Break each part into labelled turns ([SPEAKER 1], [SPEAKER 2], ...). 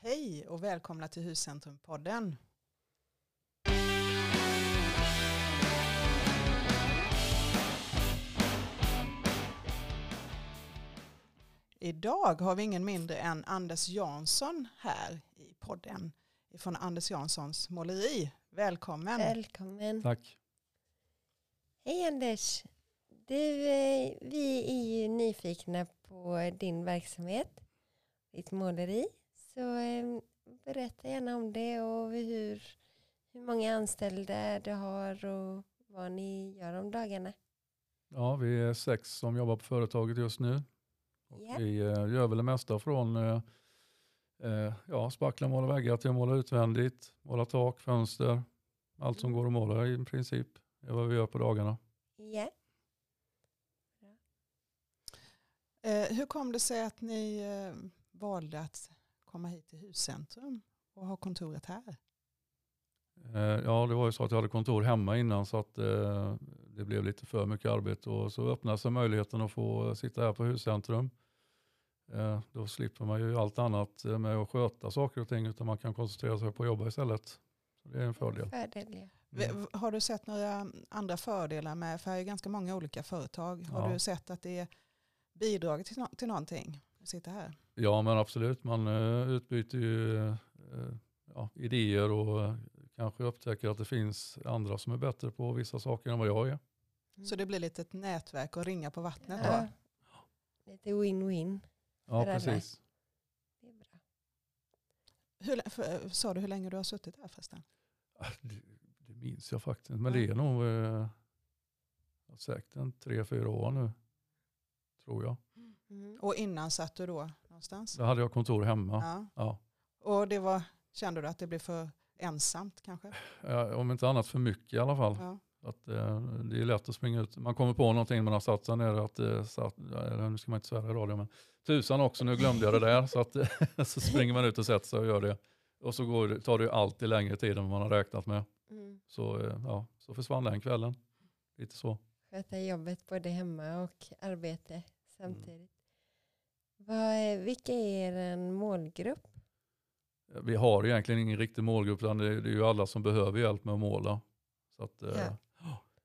[SPEAKER 1] Hej och välkomna till Huscentrumpodden. Idag har vi ingen mindre än Anders Jansson här i podden från Anders Janssons måleri. Välkommen!
[SPEAKER 2] Välkommen.
[SPEAKER 3] Tack.
[SPEAKER 2] Hej Anders. Du, eh, vi är ju nyfikna på din verksamhet, ditt måleri. Så eh, berätta gärna om det och hur, hur många anställda du har och vad ni gör om dagarna.
[SPEAKER 3] Ja, vi är sex som jobbar på företaget just nu. Och
[SPEAKER 2] Ja.
[SPEAKER 3] Vi eh, gör väl det mesta från eh, eh, ja, spackla, måla väggar till att måla utvändigt, måla tak, fönster. Allt som går att måla i princip är vad vi gör på dagarna.
[SPEAKER 2] Ja.
[SPEAKER 1] Eh, hur kom det sig att ni eh, valde att komma hit till Huscentrum och ha kontoret här?
[SPEAKER 3] Eh, Ja, det var ju så att jag hade kontor hemma innan så att eh, det blev lite för mycket arbete och så öppnade sig möjligheten att få eh, sitta här på Huscentrum. Eh, Då slipper man ju allt annat eh, med att sköta saker och ting utan man kan koncentrera sig på att jobba istället. Så det är en fördel.
[SPEAKER 2] Fördel, ja.
[SPEAKER 1] V-
[SPEAKER 3] Mm.
[SPEAKER 1] Har du sett några andra fördelar med, för det är ju ganska många olika företag, har
[SPEAKER 3] Ja.
[SPEAKER 1] du sett att det bidrar till, nå- till någonting att sitta här?
[SPEAKER 3] Ja men absolut, man eh, utbyter ju eh, ja, idéer och eh, kanske upptäcker att det finns andra som är bättre på vissa saker än vad jag är.
[SPEAKER 2] Mm.
[SPEAKER 1] Så det blir lite ett nätverk och ringa på vattnet
[SPEAKER 2] Ja.
[SPEAKER 1] då?
[SPEAKER 2] Lite win-win.
[SPEAKER 3] Ja
[SPEAKER 2] För alla.
[SPEAKER 3] precis.
[SPEAKER 2] Det är bra.
[SPEAKER 1] Hur, lä- för, sa du hur länge du har suttit här förresten?
[SPEAKER 3] Ah, Det, det minns jag faktiskt inte, men det är nog eh, säkert en tre, fyra år nu. Tror jag.
[SPEAKER 2] Mm.
[SPEAKER 1] Och innan satt du då någonstans?
[SPEAKER 3] Där hade jag kontor hemma.
[SPEAKER 1] Ja.
[SPEAKER 3] Ja.
[SPEAKER 1] Och det var, kände du att det blev för ensamt kanske?
[SPEAKER 3] Eh, Om inte annat för mycket i alla fall.
[SPEAKER 1] Ja.
[SPEAKER 3] Att, eh, det är lätt att springa ut. Man kommer på någonting man har satt sig ner. Att, eh, satt, eller, nu ska man inte svära i radio, men tusan också, nu glömde jag det där. Så, att, eh, så springer man ut och sätter sig och gör det. Och så går, det- tar det ju alltid längre tid än vad man har räknat med.
[SPEAKER 2] Mm.
[SPEAKER 3] Så, eh, ja, så försvann den kvällen. Lite så.
[SPEAKER 2] sköta jobbet både hemma och arbete
[SPEAKER 3] Mm.
[SPEAKER 2] samtidigt. Vad är, vilka är er målgrupp?
[SPEAKER 3] Vi har egentligen ingen riktig målgrupp, utan det det är ju alla som behöver hjälp med att måla. Så att, eh,
[SPEAKER 2] Ja.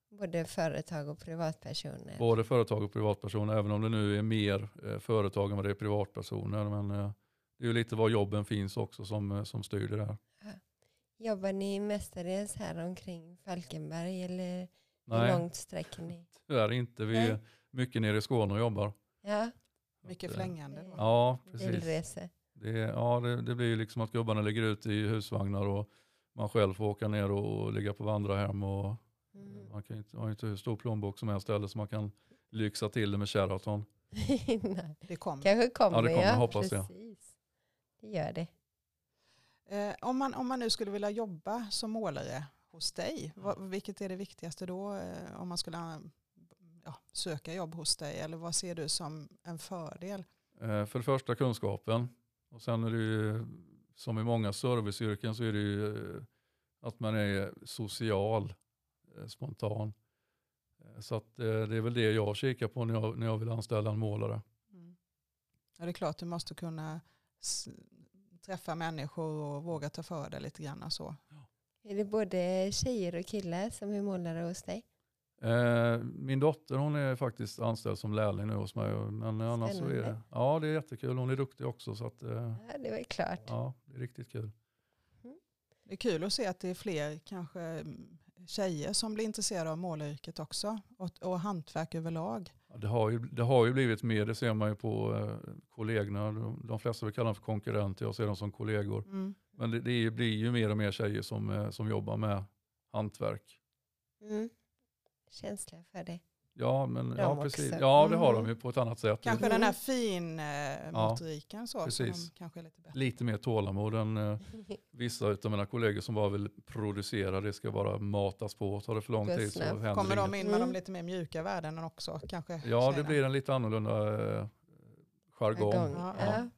[SPEAKER 2] Både företag och privatpersoner.
[SPEAKER 3] Både företag och privatpersoner, även om det nu är mer eh, företag än vad det är privatpersoner. Men eh, det är ju lite var jobben finns också som, eh, som styr det där.
[SPEAKER 2] Jobbar ni mestadels här omkring Falkenberg eller hur
[SPEAKER 3] Nej,
[SPEAKER 2] långt sträcker ni?
[SPEAKER 3] tyvärr inte. Vi
[SPEAKER 2] Nej.
[SPEAKER 3] är mycket nere i Skåne och jobbar.
[SPEAKER 2] Ja,
[SPEAKER 1] Mycket
[SPEAKER 3] Att, eh,
[SPEAKER 1] flängande då?
[SPEAKER 3] Ja, precis.
[SPEAKER 2] bilresor.
[SPEAKER 3] Det, är- ja, det, det blir ju liksom att gubbarna ligger ute i husvagnar och man själv får åka ner och ligga på vandrarhem. Och,
[SPEAKER 2] Mm.
[SPEAKER 3] Man kan ju inte, har ju inte hur stor plånbok som helst heller så man kan lyxa till det med Sheraton.
[SPEAKER 2] Nej.
[SPEAKER 1] Det kom.
[SPEAKER 2] Kanske kommer,
[SPEAKER 3] Ja, det kommer, hoppas jag.
[SPEAKER 2] precis. Det gör det.
[SPEAKER 1] Eh, om, man, om man nu skulle vilja jobba som målare hos dig, vad, vilket är det viktigaste då? Eh, om man skulle eh, ja, söka jobb hos dig, eller vad ser du som en fördel?
[SPEAKER 3] Eh, För det första kunskapen. Och sen är det ju, som i många serviceyrken så är det ju eh, att man är social, eh, spontan. Eh, Så att eh, det är väl det jag kikar på när jag, när jag vill anställa en målare.
[SPEAKER 1] Ja, det är klart, du måste kunna s- träffa människor och våga ta för dig lite grann och så.
[SPEAKER 2] Är det både tjejer och killar som är målare hos dig?
[SPEAKER 3] Eh, Min dotter hon är faktiskt anställd som lärling nu hos mig. och- Men annars så är det,
[SPEAKER 2] Spännande.
[SPEAKER 3] ja, det är jättekul. Hon är duktig också. Så att, eh,
[SPEAKER 2] Ja, det var klart.
[SPEAKER 3] ja, det är riktigt kul.
[SPEAKER 1] Det är kul att se att det är fler kanske mm, tjejer som blir intresserade av målaryrket också och, och hantverk överlag.
[SPEAKER 3] Ja, Det har, ju, det har ju blivit mer, det ser man ju på eh, kollegorna. De, de flesta vill kalla dem för konkurrenter, jag ser dem som kollegor.
[SPEAKER 1] Mm.
[SPEAKER 3] Men det, det är- blir ju mer och mer tjejer som, eh, som jobbar med hantverk.
[SPEAKER 2] Mm. Känsla för det.
[SPEAKER 3] Ja, men,
[SPEAKER 2] De
[SPEAKER 3] ja, precis.
[SPEAKER 2] också.
[SPEAKER 3] ja det har
[SPEAKER 2] Mm.
[SPEAKER 3] de ju på ett annat sätt.
[SPEAKER 1] Kanske
[SPEAKER 2] Mm.
[SPEAKER 1] den här finmotoriken så, som
[SPEAKER 3] precis.
[SPEAKER 1] kanske är lite bättre.
[SPEAKER 3] Lite mer tålamod än eh, vissa av mina kollegor som bara vill producera. Det ska bara matas på. Tar det för lång
[SPEAKER 2] Gå
[SPEAKER 3] tid så
[SPEAKER 2] snabbt.
[SPEAKER 3] händer
[SPEAKER 1] Kommer de
[SPEAKER 3] inget.
[SPEAKER 1] in med de
[SPEAKER 2] Mm.
[SPEAKER 1] lite mer mjuka värdena också? Kanske,
[SPEAKER 3] Ja, det
[SPEAKER 1] tjejerna?
[SPEAKER 3] blir en lite annorlunda eh, jargong.
[SPEAKER 2] Gång.
[SPEAKER 1] Ja.
[SPEAKER 2] Ja.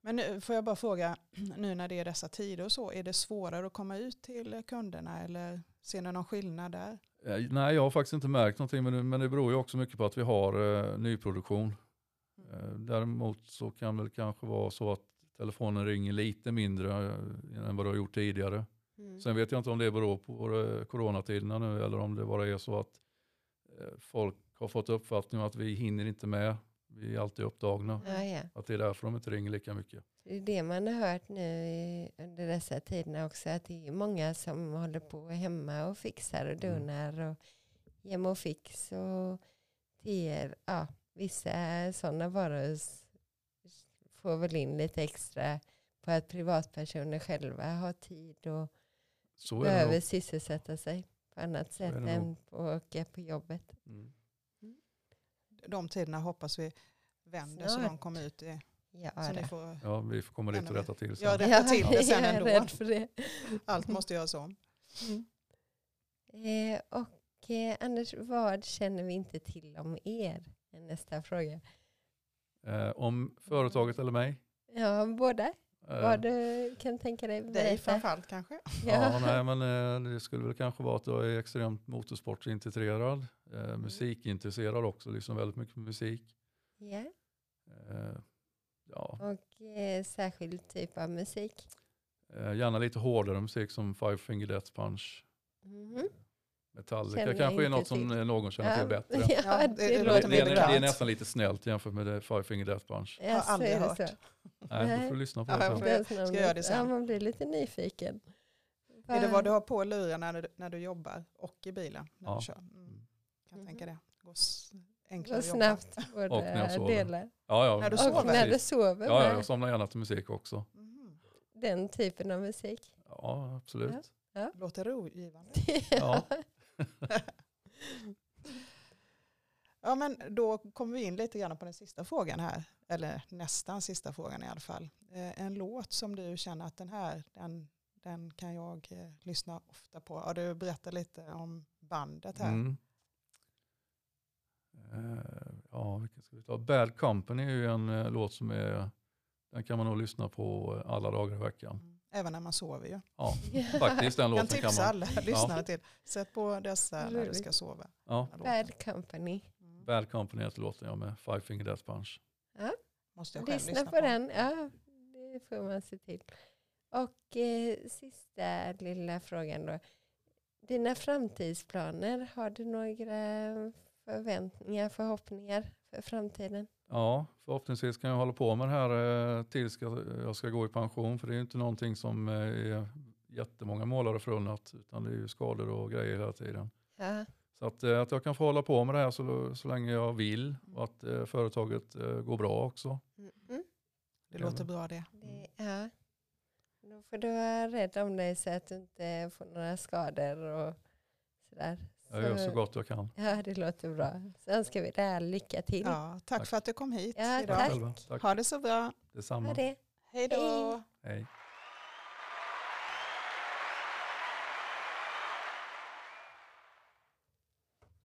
[SPEAKER 1] Men nu får jag bara fråga, nu när det är dessa tider och så, är det svårare att komma ut till kunderna eller ser ni någon skillnad där?
[SPEAKER 3] Eh, Nej, jag har faktiskt inte märkt någonting, men det, men det beror ju också mycket på att vi har eh, nyproduktion. Eh, däremot så kan väl kanske vara så att telefonen ringer lite mindre eh, än vad det har gjort tidigare.
[SPEAKER 2] Mm.
[SPEAKER 3] Sen vet jag inte om det beror på eh, coronatiderna nu eller om det bara är så att eh, folk har fått uppfattningen att vi hinner inte med. Vi är alltid upptagna.
[SPEAKER 2] Ja, ja.
[SPEAKER 3] Att det är därför de inte ringer lika mycket.
[SPEAKER 2] Det är det man har hört nu i- under dessa tiderna också. Att det är många som håller på hemma och fixar och
[SPEAKER 3] Mm.
[SPEAKER 2] donar och hem och fix och teer. Ja, vissa sådana varor s- får väl in lite extra på att privatpersoner själva har tid och
[SPEAKER 3] Så är det
[SPEAKER 2] behöver
[SPEAKER 3] nog.
[SPEAKER 2] sysselsätta sig på annat sätt
[SPEAKER 3] är det
[SPEAKER 2] än på att åka på jobbet.
[SPEAKER 3] Mm.
[SPEAKER 1] De tiderna hoppas vi vänder så
[SPEAKER 2] Snart.
[SPEAKER 1] de kommer ut i...
[SPEAKER 2] Ja,
[SPEAKER 1] Så
[SPEAKER 2] det.
[SPEAKER 1] ni får
[SPEAKER 3] Ja, vi får komma dit och
[SPEAKER 1] Ännu mer.
[SPEAKER 3] rätta till sen.
[SPEAKER 1] Ja, det- rätta till det sen
[SPEAKER 2] jag är
[SPEAKER 1] ändå.
[SPEAKER 2] rädd för det.
[SPEAKER 1] Allt måste göras om.
[SPEAKER 2] Eh, och eh, Anders, vad känner vi inte till om er? Är Nästa fråga.
[SPEAKER 3] Eh, om företaget eller mig?
[SPEAKER 2] Ja, båda.
[SPEAKER 3] Eh,
[SPEAKER 2] Vad du kan tänka dig
[SPEAKER 1] Dig
[SPEAKER 2] berätta.
[SPEAKER 1] framförallt kanske.
[SPEAKER 3] Ja, nej, men eh, det skulle väl kanske vara att jag är extremt motorsportintresserad, eh, musikintresserad också, liksom väldigt mycket musik.
[SPEAKER 2] ja.
[SPEAKER 3] Eh, ja,
[SPEAKER 2] Och eh, särskild typ av musik.
[SPEAKER 3] eh, gärna lite hårdare musik som Five Finger Death Punch,
[SPEAKER 2] Mhm.
[SPEAKER 3] Metallica
[SPEAKER 2] Känner jag
[SPEAKER 3] kanske är
[SPEAKER 2] inte
[SPEAKER 3] något som
[SPEAKER 2] till.
[SPEAKER 3] eh, någon känner till bättre.
[SPEAKER 2] ja,
[SPEAKER 1] Ja,
[SPEAKER 2] det,
[SPEAKER 1] det- det
[SPEAKER 3] Det,
[SPEAKER 1] låter
[SPEAKER 2] låter
[SPEAKER 3] det,
[SPEAKER 1] mer
[SPEAKER 3] är,
[SPEAKER 2] bra.
[SPEAKER 1] bekant.
[SPEAKER 3] det är nästan lite snällt jämfört med det Five Finger Death Punch.
[SPEAKER 2] Ja, så
[SPEAKER 1] aldrig
[SPEAKER 2] är det
[SPEAKER 1] hört.
[SPEAKER 2] så.
[SPEAKER 3] Nej,
[SPEAKER 2] Nej.
[SPEAKER 3] du får lyssna på
[SPEAKER 1] Ja,
[SPEAKER 3] det
[SPEAKER 1] jag
[SPEAKER 3] sen.
[SPEAKER 1] får-
[SPEAKER 2] Det är
[SPEAKER 1] Ska jag göra det sen?
[SPEAKER 2] Ja, man blir lite nyfiken.
[SPEAKER 1] Är det vad du har på lurarna när du, när du jobbar och i bilen när
[SPEAKER 3] Ja.
[SPEAKER 1] du kör? Mm. Kan
[SPEAKER 2] Mhm.
[SPEAKER 1] tänka det. Gå s- enklare
[SPEAKER 2] Vad
[SPEAKER 1] att jobba.
[SPEAKER 2] snabbt
[SPEAKER 3] Och när jag
[SPEAKER 2] båda
[SPEAKER 3] sover.
[SPEAKER 2] delar.
[SPEAKER 3] Ja, ja,
[SPEAKER 1] När du
[SPEAKER 3] precis.
[SPEAKER 2] Och
[SPEAKER 1] sover.
[SPEAKER 2] när du sover.
[SPEAKER 3] Ja, ja,
[SPEAKER 2] med
[SPEAKER 3] jag somnar gärna till musik också.
[SPEAKER 1] Mhm.
[SPEAKER 2] Den typen av musik.
[SPEAKER 3] Ja, absolut.
[SPEAKER 1] Låter rogivande.
[SPEAKER 3] Ja.
[SPEAKER 1] Ja, men då kommer vi in lite grann på den sista frågan här. Eller nästan sista frågan i alla fall. Eh, en låt som du känner att den här, den, den kan jag eh, lyssna ofta på. Ja, du berättade lite om bandet här.
[SPEAKER 3] Mm. Eh, ja, vilken ska vi ta? Bad Company är ju en eh, låt som är, den kan man nog lyssna på eh, alla dagar i veckan.
[SPEAKER 1] Mm. Även när man sover ju.
[SPEAKER 3] Ja, faktiskt den
[SPEAKER 1] kan
[SPEAKER 3] låten kan
[SPEAKER 1] tipsa
[SPEAKER 3] man.
[SPEAKER 1] alla lyssnare till. Sätt på dessa när du
[SPEAKER 2] Roligt.
[SPEAKER 1] ska sova.
[SPEAKER 3] Ja,
[SPEAKER 1] Den här låten.
[SPEAKER 2] Bad company.
[SPEAKER 1] Mm.
[SPEAKER 3] Bad Company heter låten jag med, Five Finger Death Punch.
[SPEAKER 1] Måste jag själv
[SPEAKER 2] Lyssna på, den. Ja, det får man se till. Och eh, sista lilla frågan då. Dina framtidsplaner, har du några förväntningar, förhoppningar för framtiden?
[SPEAKER 3] Ja, förhoppningsvis kan jag hålla på med det här eh, tills ska- jag ska gå i pension. För det är ju inte någonting som eh, är jättemånga målare förunnat. Utan det är ju skador och grejer hela tiden.
[SPEAKER 2] Ja,
[SPEAKER 3] Så att, eh, att jag kan få hålla på med det här så, så länge jag vill. Och att eh, företaget eh, går bra också.
[SPEAKER 2] mm, mm.
[SPEAKER 1] Det låter bra det.
[SPEAKER 2] Det, ja. Då får du vara rädd om dig så att du inte får några skador och sådär.
[SPEAKER 3] Jag gör så gott jag kan.
[SPEAKER 2] Ja, det låter bra. Så önskar vi dig lycka till.
[SPEAKER 1] Ja, tack
[SPEAKER 3] Tack.
[SPEAKER 1] för att du kom hit
[SPEAKER 2] Ja,
[SPEAKER 1] idag.
[SPEAKER 2] tack.
[SPEAKER 3] Själva. Tack.
[SPEAKER 1] Ha det så bra.
[SPEAKER 3] Detsamma.
[SPEAKER 2] Ha det.
[SPEAKER 1] Hej då.
[SPEAKER 2] Hej.
[SPEAKER 3] Hej.